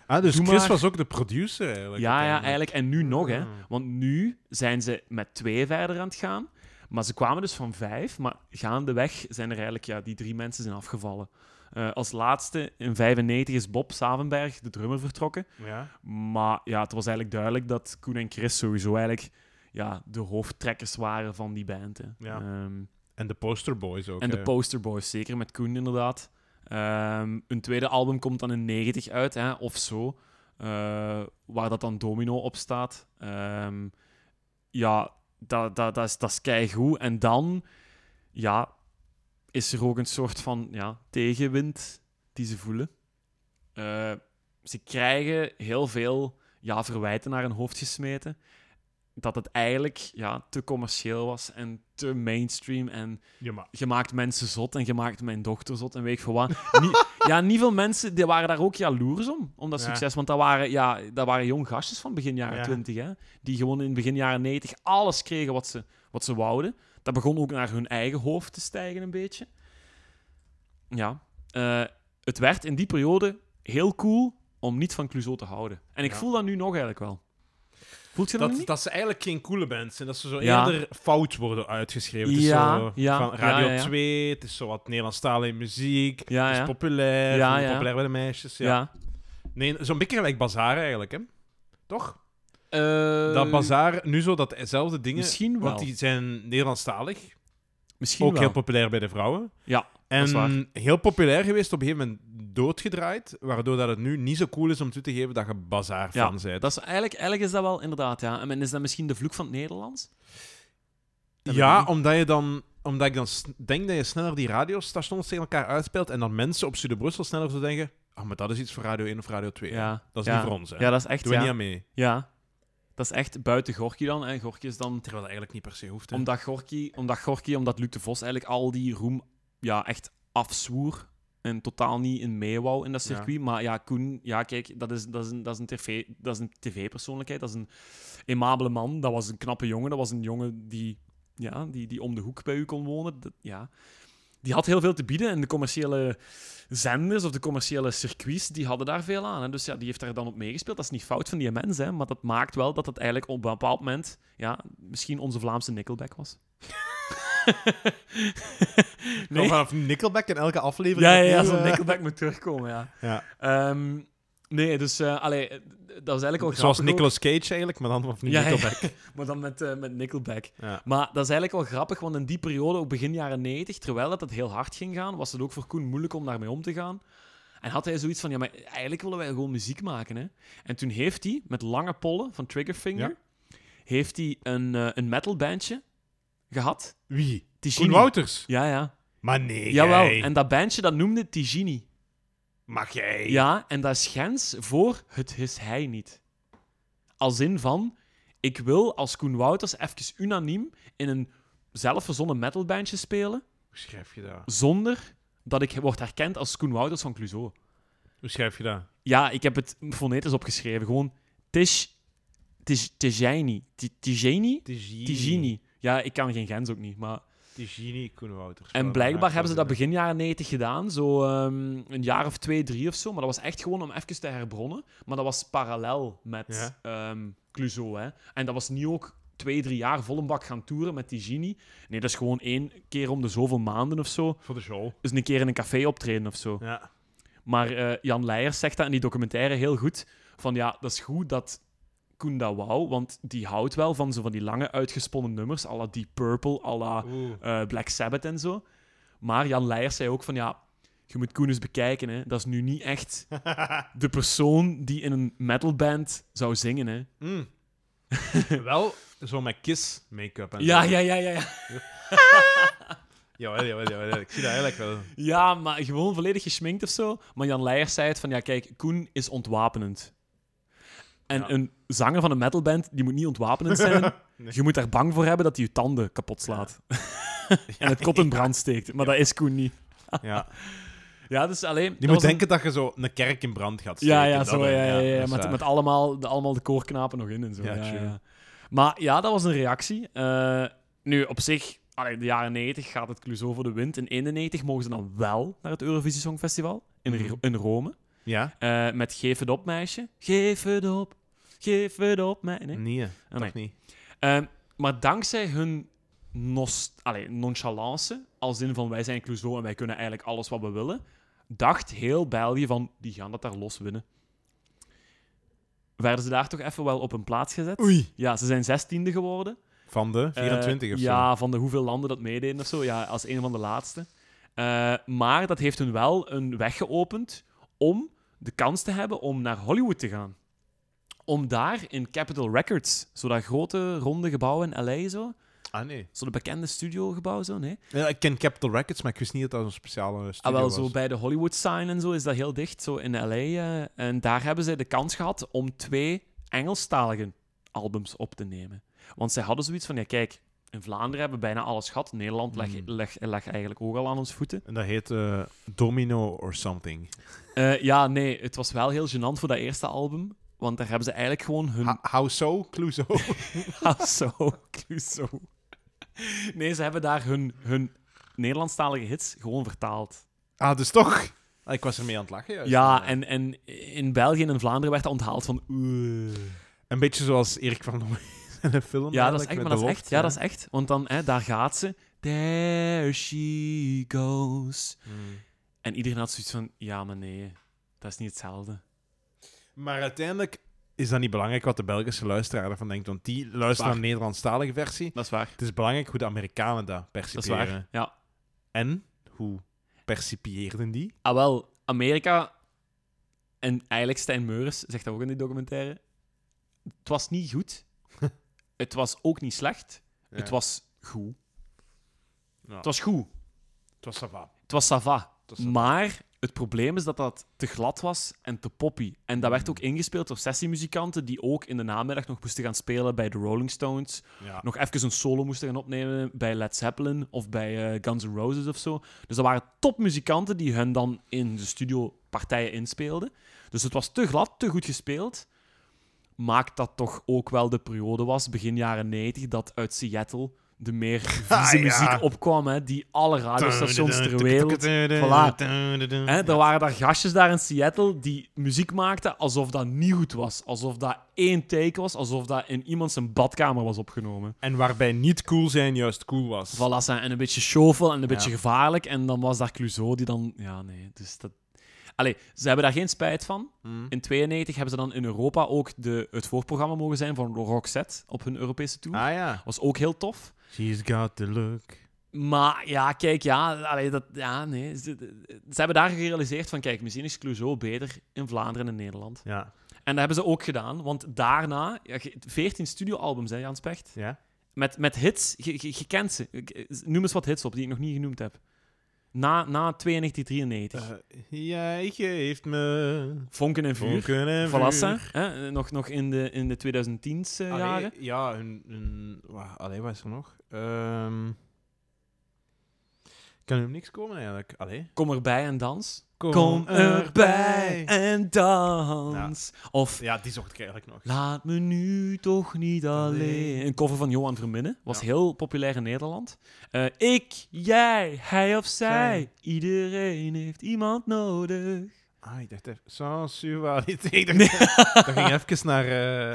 S1: Ah, dus
S2: Doe
S1: Chris
S2: maar.
S1: was ook de producer eigenlijk.
S2: ja, ja,
S1: uiteindelijk.
S2: eigenlijk. En nu nog, hè.
S1: Ah.
S2: Want nu zijn ze met twee verder aan het gaan. Maar ze kwamen dus van vijf, maar gaandeweg zijn er eigenlijk, ja, die drie mensen zijn afgevallen. Eh, als laatste, in 95, is Bob Savenberg, de drummer, vertrokken.
S1: Ja.
S2: Maar ja, het was eigenlijk duidelijk dat Koen en Chris sowieso eigenlijk ja, de hoofdtrekkers waren van die band. Hè.
S1: Ja.
S2: Ehm,
S1: En de posterboys ook. eh.
S2: En
S1: hè.
S2: de posterboys, zeker met Koen inderdaad. Ehm een tweede album komt dan in 90 uit, hè, of zo. eh, waar dat dan Domino op staat. Ehm, ja, dat, dat, dat is, dat is keigoed. En dan, ja, is er ook een soort van ja, tegenwind die ze voelen. Eh, ze krijgen heel veel ja, verwijten naar hun hoofd gesmeten. Dat het eigenlijk ja, te commercieel was en te mainstream en
S1: Ja, maar...
S2: je maakt mensen zot en je maakt mijn dochter zot en weet ik veel wat. Niet- ja, niet veel mensen die waren daar ook jaloers om, om dat
S1: Ja.
S2: succes. Want dat waren, ja, dat waren jong gastjes van begin jaren
S1: Ja.
S2: 20, hè, die gewoon in begin jaren 90 alles kregen wat ze, wat ze wouden. Dat begon ook naar hun eigen hoofd te stijgen een beetje. Ja, eh, het werd in die periode heel cool om niet van Clouseau te houden. En ik
S1: Ja.
S2: voel dat nu nog eigenlijk wel. Voelt je dat,
S1: Dat,
S2: niet?
S1: dat ze eigenlijk geen coole bands zijn. Dat ze zo
S2: Ja.
S1: eerder fout worden uitgeschreven. Het is
S2: Ja,
S1: zo
S2: ja,
S1: van Radio
S2: ja, ja, ja.
S1: 2, het is zo wat Nederlandstalige muziek.
S2: Ja,
S1: het is
S2: ja.
S1: populair,
S2: Ja,
S1: ja,
S2: ja.
S1: populair bij de meisjes. Ja.
S2: ja.
S1: Nee, zo'n beetje gelijk Bazaar eigenlijk, hè? Toch?
S2: Eh,
S1: dat Bazaar, nu zo datzelfde dingen...
S2: Misschien wel.
S1: Want die zijn Nederlandstalig.
S2: Misschien
S1: ook
S2: wel.
S1: heel populair bij de vrouwen.
S2: Ja, dat is waar.
S1: En heel populair geweest, op een gegeven moment doodgedraaid, waardoor dat het nu niet zo cool is om toe te geven dat je bazaar
S2: Ja,
S1: van bent.
S2: Dat is eigenlijk, eigenlijk is dat wel inderdaad, ja. En is dat misschien de vloek van het Nederlands? Dat weet ik
S1: Ja,
S2: niet.
S1: omdat, je dan, omdat ik dan s- denk dat je sneller die radiostations tegen elkaar uitspeelt en dan mensen op Studio Brussel sneller zo denken, ah, maar dat is iets voor Radio 1 of Radio 2.
S2: ja.
S1: oh, Dat is
S2: ja.
S1: niet voor ons, hè.
S2: Ja, dat is echt,
S1: Doe je niet
S2: ja.
S1: aan mee.
S2: ja. Dat is echt buiten Gorky dan. En Gorky is dan...
S1: Terwijl dat eigenlijk niet per se hoeft, hè.
S2: Omdat Gorky, omdat Gorky, omdat Luc de Vos eigenlijk al die roem ja, echt afzwoer en totaal niet in mee wou in dat
S1: Ja.
S2: circuit. Maar ja, Koen, ja, kijk, dat is, dat is een, dat is een, TV, dat is een tv-persoonlijkheid. Dat is een aimabele man. Dat was een knappe jongen. Dat was een jongen die, ja, die, die om de hoek bij u kon wonen. Dat- ja. Die had heel veel te bieden en de commerciële zenders of de commerciële circuits, die hadden daar veel aan. Hè. Dus ja, die heeft daar dan op meegespeeld. Dat is niet fout van die mens, hè, maar dat maakt wel dat het eigenlijk op een bepaald moment ja, misschien onze Vlaamse Nickelback was.
S1: Gewoon vanaf Nickelback in elke aflevering.
S2: Ja, ja, ja
S1: opnieuw,
S2: zo'n
S1: eh,
S2: Nickelback moet terugkomen, ja.
S1: Ja.
S2: Ehm, nee, dus eh, allee, eh, dat is eigenlijk al
S1: Zoals
S2: grappig ook.
S1: Nicolas Cage eigenlijk, maar dan vanaf nu
S2: Ja, ja.
S1: Nickelback.
S2: maar dan met, eh, met Nickelback.
S1: Ja.
S2: Maar dat is eigenlijk wel grappig, want in die periode, ook begin jaren 90, terwijl dat het heel hard ging gaan, was het ook voor Koen moeilijk om daarmee om te gaan. En had hij zoiets van, ja, maar eigenlijk willen wij gewoon muziek maken, hè. En toen heeft hij, met Lange Pollen van Triggerfinger, heeft hij een, eh, een metalbandje gehad.
S1: Wie? Koen
S2: Tigini.
S1: Wouters?
S2: Ja, ja.
S1: Maar nee,
S2: Jawel,
S1: jij.
S2: en dat bandje, dat noemde Tigini.
S1: Mag jij?
S2: Ja, en dat is grens voor het is hij niet. Als in van, ik wil als Koen Wouters even unaniem in een zelfverzonnen metalbandje spelen,
S1: Hoe schrijf je dat?
S2: zonder dat ik word herkend als Koen Wouters van Clouseau.
S1: Hoe schrijf je dat?
S2: Ja, ik heb het fonetisch opgeschreven, gewoon Tish... Tish... Tijani. Ti- Tijani?
S1: Tigini.
S2: Tijini. Ja, ik kan geen grens ook niet, maar...
S1: Tigini Koen Wouters.
S2: En blijkbaar hebben ze dat begin jaren 90 gedaan, zo ehm, een jaar of twee, drie of zo. Maar dat was echt gewoon om even te herbronnen. Maar dat was parallel met ehm Clouseau. Hè. En dat was niet ook twee, drie jaar vol een bak gaan toeren met die genie. Nee, dat is gewoon één keer om de zoveel maanden of zo.
S1: Voor de show.
S2: Dus een keer in een café optreden of zo.
S1: Ja.
S2: Maar eh, Jan Leijers zegt dat in die documentaire heel goed. Van ja, dat is goed dat Koen dat wou, want die houdt wel van zo van die lange uitgesponnen nummers. à la Deep Purple, à la
S1: Oeh.
S2: eh, Black Sabbath en zo. Maar Jan Leijers zei ook van ja, je moet Koen eens bekijken. Hè. Dat is nu niet echt de persoon die in een metalband zou zingen. Hè.
S1: Mm. Wel zo met kiss make-up en
S2: Ja,
S1: zo.
S2: ja, ja, ja, ja.
S1: Jawel, jawel, jawel. Ik zie dat eigenlijk wel.
S2: Ja, maar gewoon volledig geschminkt of zo. Maar Jan Leijers zei het van ja, kijk, Koen is ontwapenend. En
S1: Ja.
S2: een zanger van een metalband, die moet niet ontwapenend zijn.
S1: Nee.
S2: Je moet daar bang voor hebben dat hij je tanden kapot slaat. en het kot in brand steekt. Maar dat is Koen niet.
S1: Ja.
S2: Ja, dus alleen...
S1: Je moet denken dat je zo een kerk in brand gaat steken.
S2: Ja, ja,
S1: dat,
S2: zo,
S1: hè.
S2: ja, ja, ja,
S1: dat is
S2: met,
S1: waar.
S2: met allemaal, de, allemaal de koorknapen nog in en zo.
S1: Ja,
S2: Ja,
S1: true.
S2: ja. Maar ja, dat was een reactie. Eh, nu, op zich, allee, de jaren 90 gaat het Clouseau voor de wind. In 91 mogen ze dan wel naar het Eurovisie Songfestival in,
S1: Mhm.
S2: Ro- in Rome.
S1: Ja?
S2: Eh, met Geef het op, meisje. Geef het op. Geef het op, meisje.
S1: Nee,
S2: Ah,
S1: toch
S2: nee.
S1: niet.
S2: Ehm, maar dankzij hun nos- allee, nonchalance, als in van wij zijn Clouseau en wij kunnen eigenlijk alles wat we willen, dacht heel België van die gaan dat daar los winnen. Werden ze daar toch even wel op een plaats gezet?
S1: Oei.
S2: Ja, ze zijn zestiende geworden.
S1: Van de 24
S2: Eh,
S1: of zo.
S2: Ja, van de hoeveel landen dat meededen of zo. Ja, als een van de laatste. Eh, maar dat heeft hun wel een weg geopend om de kans te hebben om naar Hollywood te gaan. Om daar in Capitol Records, zo dat grote ronde gebouw in LA, zo,
S1: Ah, nee.
S2: zo dat bekende studiogebouw, zo, nee.
S1: Ja, ik ken Capital Records, maar ik wist niet dat dat een speciale studio
S2: Ah, wel,
S1: was.
S2: zo bij de Hollywood sign en zo is dat heel dicht, zo in LA. eh, en daar hebben zij de kans gehad om twee Engelstalige albums op te nemen. Want zij hadden zoiets van, ja kijk, in Vlaanderen hebben we bijna alles gehad. Nederland lag,
S1: Mm.
S2: lag, lag eigenlijk ook al aan ons voeten.
S1: En dat heet eh, Domino or something.
S2: Eh, ja, nee, het was wel heel gênant voor dat eerste album. Want daar hebben ze eigenlijk gewoon hun...
S1: Ha- How so? Clouseau?
S2: Ah, zo, Clouseau. Nee, ze hebben daar hun, hun Nederlandstalige hits gewoon vertaald.
S1: ah, dus toch? Ah, ik was ermee aan het lachen. juist.
S2: Ja, en, en in België en in Vlaanderen werd dat onthaald van... "Oeh."
S1: Een beetje zoals Erik van Looy in een film.
S2: Ja, dat is
S1: eigenlijk,
S2: echt, maar
S1: met
S2: dat is
S1: de
S2: echt.
S1: Loft,
S2: Ja, dat is echt. Want dan, hè, daar gaat ze. There she goes.
S1: Mm.
S2: En iedereen had zoiets van... Ja, maar nee. Dat is niet hetzelfde.
S1: Maar uiteindelijk is dat niet belangrijk wat de Belgische luisteraar ervan denkt, want die luisteren
S2: Waar.
S1: naar de Nederlandstalige versie.
S2: Dat is waar.
S1: Het is belangrijk hoe de Amerikanen dat
S2: Dat is
S1: percipiëren.
S2: waar. Ja.
S1: En hoe percipieerden die?
S2: Ah, wel, Amerika. En eigenlijk Stijn Meuris zegt dat ook in die documentaire. Het was niet goed. het was ook niet slecht. Het was goed.
S1: Ja.
S2: Het was goed.
S1: Het was sava.
S2: Het was sava.
S1: Het was
S2: Maar het probleem is dat dat te glad was en te poppy. En dat
S1: Mm.
S2: werd ook ingespeeld door sessiemuzikanten die ook in de namiddag nog moesten gaan spelen bij de Rolling Stones.
S1: Ja.
S2: nog even een solo moesten gaan opnemen bij Led Zeppelin of bij eh, Guns N' Roses of zo. Dus dat waren topmuzikanten die hun dan in de studio partijen inspeelden. Dus het was te glad, te goed gespeeld. Maakt dat toch ook wel de periode was, begin jaren 90, dat uit Seattle de meer vieze
S1: Ah, ja.
S2: muziek opkwam, hè, die alle radiostations ter wereld... Voilà. Hè, er waren daar gastjes daar in Seattle die muziek maakten alsof dat niet goed was. Alsof dat één take was, alsof dat in iemand zijn badkamer was opgenomen.
S1: En waarbij niet cool zijn juist cool was.
S2: Voilà, zijn- en een beetje shovel en een beetje
S1: Ja.
S2: gevaarlijk. En dan was daar Clouseau die dan... Ja, nee, dus dat... Allee, ze hebben daar geen spijt van.
S1: Mm.
S2: In 92 hebben ze dan in Europa ook de, het voorprogramma mogen zijn van Roxette op hun Europese tour.
S1: Ah ja.
S2: Was ook heel tof.
S1: She's got the look.
S2: Maar ja, kijk, ja, allee, dat, ja nee. Ze, ze hebben daar gerealiseerd van, kijk, misschien is Clouseau beter in Vlaanderen en in Nederland.
S1: Ja.
S2: En dat hebben ze ook gedaan, want daarna... Ja, ge- 14 studioalbums, hè, Jan Specht?
S1: Ja.
S2: Met, met hits, je, je, je kent ze. Ik- eh, Noem eens wat hits op die ik nog niet genoemd heb. Na, na 92,
S1: Eh,
S2: 93.
S1: jij geeft me...
S2: Vonken en vuur.
S1: vonken en
S2: Valassa.
S1: vuur.
S2: hè, Nog, nog in de, in de 2010s eh,
S1: Allee,
S2: jaren.
S1: ja, hun... hun wa- allee, wat is er nog? Ehm kan er niks komen eigenlijk. Allee.
S2: Kom erbij en dans.
S1: Kom,
S2: en dans. Of
S1: Ja, die zocht ik eigenlijk nog.
S2: Laat me nu toch niet alleen.
S1: Alleen.
S2: Een cover van Johan Verminnen. Was
S1: Ja.
S2: heel populair in Nederland. Eh, ik, jij, hij of zij. Iedereen heeft iemand nodig.
S1: Ah, ik dacht even... Sensualiteit. Ik dacht, dat ging even naar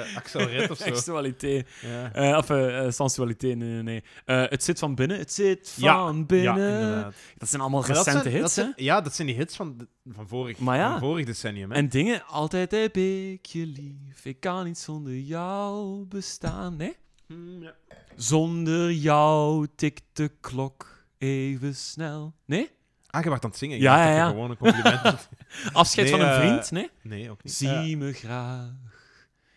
S1: eh Axel Red of zo.
S2: Seksualiteit.
S1: Ja.
S2: Eh, of eh, eh, sensualiteit, nee, nee, nee. Eh, het zit van binnen, het zit
S1: Ja,
S2: van
S1: ja,
S2: binnen.
S1: inderdaad.
S2: dat zijn allemaal
S1: Maar dat
S2: recente
S1: zijn- dat
S2: hits, hè?
S1: zijn- ja, dat zijn die hits van, de- van, vorig,
S2: Maar ja.
S1: van vorig decennium. Hè?
S2: En dingen, altijd heb ik je lief, ik kan niet zonder jou bestaan, nee?
S1: Mm, ja.
S2: Zonder jou tikt de klok even snel, nee?
S1: Ah, je wacht aan het zingen. Ik
S2: Ja,
S1: dacht dat
S2: ja,
S1: je
S2: ja.
S1: Gewoon een compliment.
S2: Afscheid
S1: Nee,
S2: van een
S1: eh,
S2: vriend, nee?
S1: nee, ook niet.
S2: Zie me graag,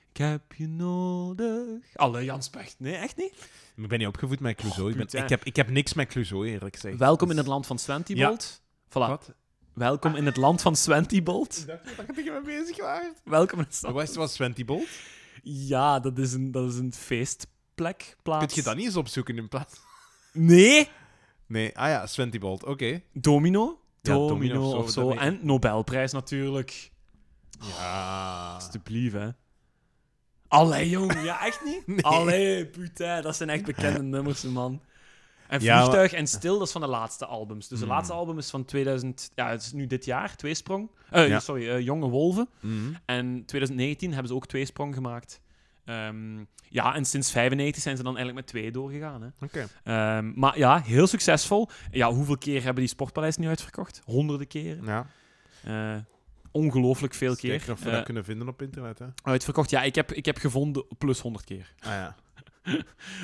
S2: ik heb je nodig. Alle Jans Pecht, nee, echt niet?
S1: Eh, ik ben niet opgevoed met Clouseau.
S2: Oh,
S1: ik, ben-
S2: putain.
S1: ik, heb, ik heb niks met Clouseau, eerlijk gezegd.
S2: Welkom in
S1: Dus-
S2: het land van Sven, Thibault. Voilà.
S1: Wat?
S2: Welkom in het land van Swentibolt.
S1: Ik dacht dat je tegen me bezig was.
S2: Welkom in het
S1: Dat
S2: stad.
S1: was was Swentibolt.
S2: Ja, dat is een, dat is een feestplek. Plaats.
S1: Kun je dat niet eens opzoeken in plaats?
S2: Nee!
S1: Nee, ah ja, Swentibolt, oké.
S2: Domino?
S1: Ja,
S2: Domino,
S1: Domino of zo,
S2: of zo.
S1: dat weet Ah.
S2: En Nobelprijs natuurlijk.
S1: Ja.
S2: Alsjeblieft, hè. Allee, jong. Ja, echt niet?
S1: Nee.
S2: Allee, putain. Dat zijn echt bekende nummers, man. En
S1: Ja, Hmm.
S2: Vliegtuig en Stil, dat is van de laatste albums. Dus de laatste album is van 2000... Ja, het is nu dit jaar, Tweesprong. Eh,
S1: Ja.
S2: Sorry, eh, Jonge Wolven.
S1: Mhm.
S2: En 2019 hebben ze ook Tweesprong gemaakt. Ehm, ja, en sinds 95 zijn ze dan eigenlijk met twee doorgegaan, hè.
S1: Oké.
S2: Ehm, maar ja, heel succesvol. Ja, hoeveel keer hebben die Sportpaleis nu uitverkocht? Honderden keren.
S1: Ja.
S2: Eh, ongelooflijk veel
S1: Eens
S2: keer.
S1: Kijken of we
S2: Eh,
S1: dat kunnen vinden op internet, hè.
S2: Uitverkocht, ja, ik heb, ik heb gevonden plus 100 keer.
S1: Ah ja.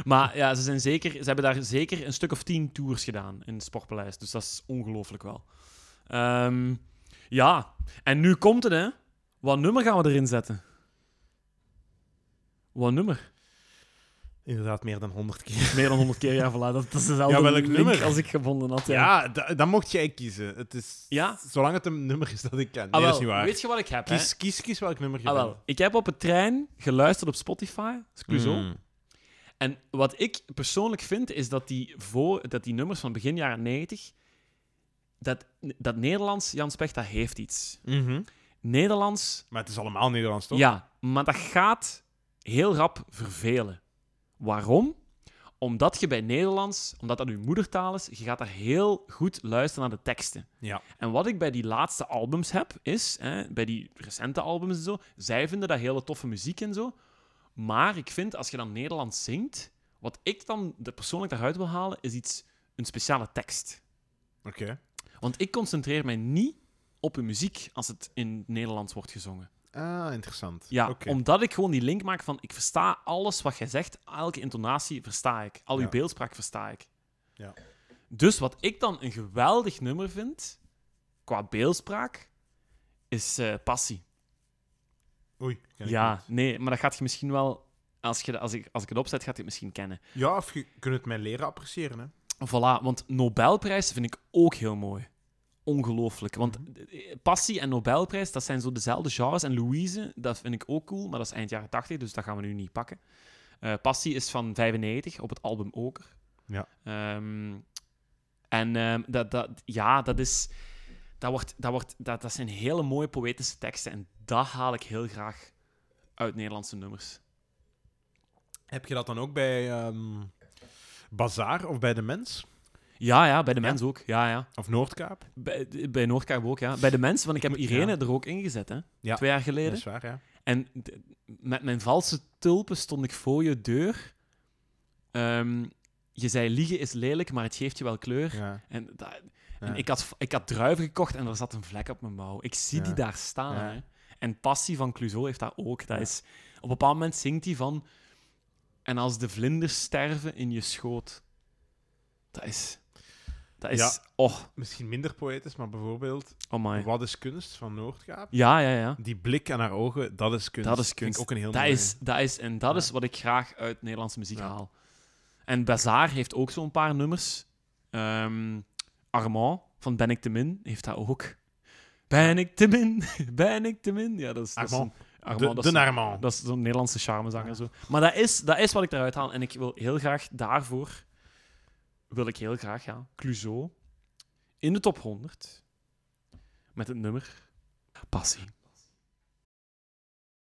S2: Maar ja, ze, zijn zeker, ze hebben daar zeker een stuk of 10 tours gedaan in het Sportpaleis. Dus dat is ongelooflijk wel. Ehm, ja, en nu komt het, hè? Wat nummer gaan we erin zetten? Wat nummer?
S1: Inderdaad, meer dan 100 keer.
S2: Meer dan 100 keer, ja, voilà. Dat, dat is dezelfde
S1: Ja, welk
S2: link
S1: nummer?
S2: als ik gevonden had. ja.
S1: Ja, da- dan mocht jij kiezen. Het is...
S2: Ja.
S1: Zolang het een nummer is dat ik ken. Nee,
S2: Ah, wel,
S1: dat is niet waar.
S2: Weet je wat ik heb, hè?
S1: Kies, kies, kies welk nummer je
S2: Ah,
S1: wil.
S2: wel. Ik heb op het trein geluisterd op Spotify, excluso.
S1: Mm.
S2: En wat ik persoonlijk vind, is dat die, voor, dat die nummers van begin jaren 90... Dat, dat Nederlands, Jan Specht, dat heeft iets.
S1: Mhm.
S2: Nederlands,
S1: Maar het is allemaal Nederlands, toch?
S2: ja, maar dat gaat heel rap vervelen. Waarom? Omdat je bij Nederlands, omdat dat uw moedertaal is, je gaat daar heel goed luisteren naar de teksten.
S1: Ja.
S2: En wat ik bij die laatste albums heb, is, hè, bij die recente albums en zo, zij vinden dat hele toffe muziek en zo. Maar ik vind, als je dan Nederlands zingt, wat ik dan de- persoonlijk daaruit wil halen, is iets, een speciale tekst.
S1: Oké.
S2: Want ik concentreer mij niet op de muziek als het in het Nederlands wordt gezongen.
S1: Ah, interessant.
S2: Ja,
S1: Oké.
S2: omdat ik gewoon die link maak van, ik versta alles wat jij zegt, elke intonatie versta ik, al uw
S1: Ja.
S2: beeldspraak versta ik.
S1: Ja.
S2: Dus wat ik dan een geweldig nummer vind, qua beeldspraak, is eh, Passie.
S1: Oei. ken ik
S2: Ja,
S1: niet.
S2: nee, maar dat gaat je misschien wel. Als, je, dat- als, ik, als ik het opzet, gaat je het misschien kennen.
S1: Ja, of je kunt het mij leren appreciëren, hè.
S2: Voilà, want Nobelprijs vind ik ook heel mooi. Ongelooflijk. Want eh, Passie en Nobelprijs, dat zijn zo dezelfde genres. En Louise, dat vind ik ook cool, maar dat is eind jaren 80, dus dat gaan we nu niet pakken. Eh, Passie is van 95, op het album Oker.
S1: Ja.
S2: Ehm, en ehm, dat, dat, ja, dat is... Dat, wordt, dat, wordt, dat, dat zijn hele mooie poëtische teksten. En dat haal ik heel graag uit Nederlandse nummers.
S1: Heb je dat dan ook bij ehm, Bazaar of bij De Mens?
S2: Ja, ja, bij de mens ook. Ja, ja.
S1: Of Noordkaap?
S2: Bij, bij Noordkaap ook, ja. Bij de mens, want ik heb
S1: moet-
S2: Irene
S1: ja.
S2: er ook ingezet, hè.
S1: Ja.
S2: Twee jaar geleden.
S1: Dat is waar, ja.
S2: En d- met mijn valse tulpen stond ik voor je deur. Ehm, je zei, liegen is lelijk, maar het geeft je wel kleur.
S1: ja.
S2: En, da-
S1: Ja.
S2: en ik, had, ik had druiven gekocht en er zat een vlek op mijn mouw. Ik zie
S1: Ja.
S2: die daar staan,
S1: Ja.
S2: hè. En Passie van Clouseau heeft dat ook. Dat
S1: Ja.
S2: is, op een bepaald moment zingt hij van... En als de vlinders sterven in je schoot. Dat is... Dat is...
S1: Ja.
S2: Oh,
S1: Misschien minder poëtisch, maar bijvoorbeeld
S2: oh my.
S1: Wat is kunst van Noordkaap?
S2: Ja, ja, ja.
S1: Die blik aan haar ogen, dat is kunst.
S2: Dat is
S1: Vind
S2: kunst.
S1: ik ook een heel
S2: Dat
S1: mooi.
S2: is, dat is, en dat
S1: Ja.
S2: is wat ik graag uit Nederlandse muziek
S1: Ja.
S2: haal. En Bazaar heeft ook zo'n paar nummers. Ehm, Armand van Ben ik te min heeft dat ook. Ben ik te min, ben ik te min. Ja, dat is,
S1: Armand.
S2: Dat is een-
S1: Ah, de,
S2: Armand, dat
S1: de
S2: is een-
S1: Narman.
S2: dat is zo'n Nederlandse charmezanger. Zo. Maar dat is, dat is wat ik eruit haal. En ik wil heel graag daarvoor... Wil ik heel graag, ja. Clouseau. In de top 100. Met het nummer... Passie.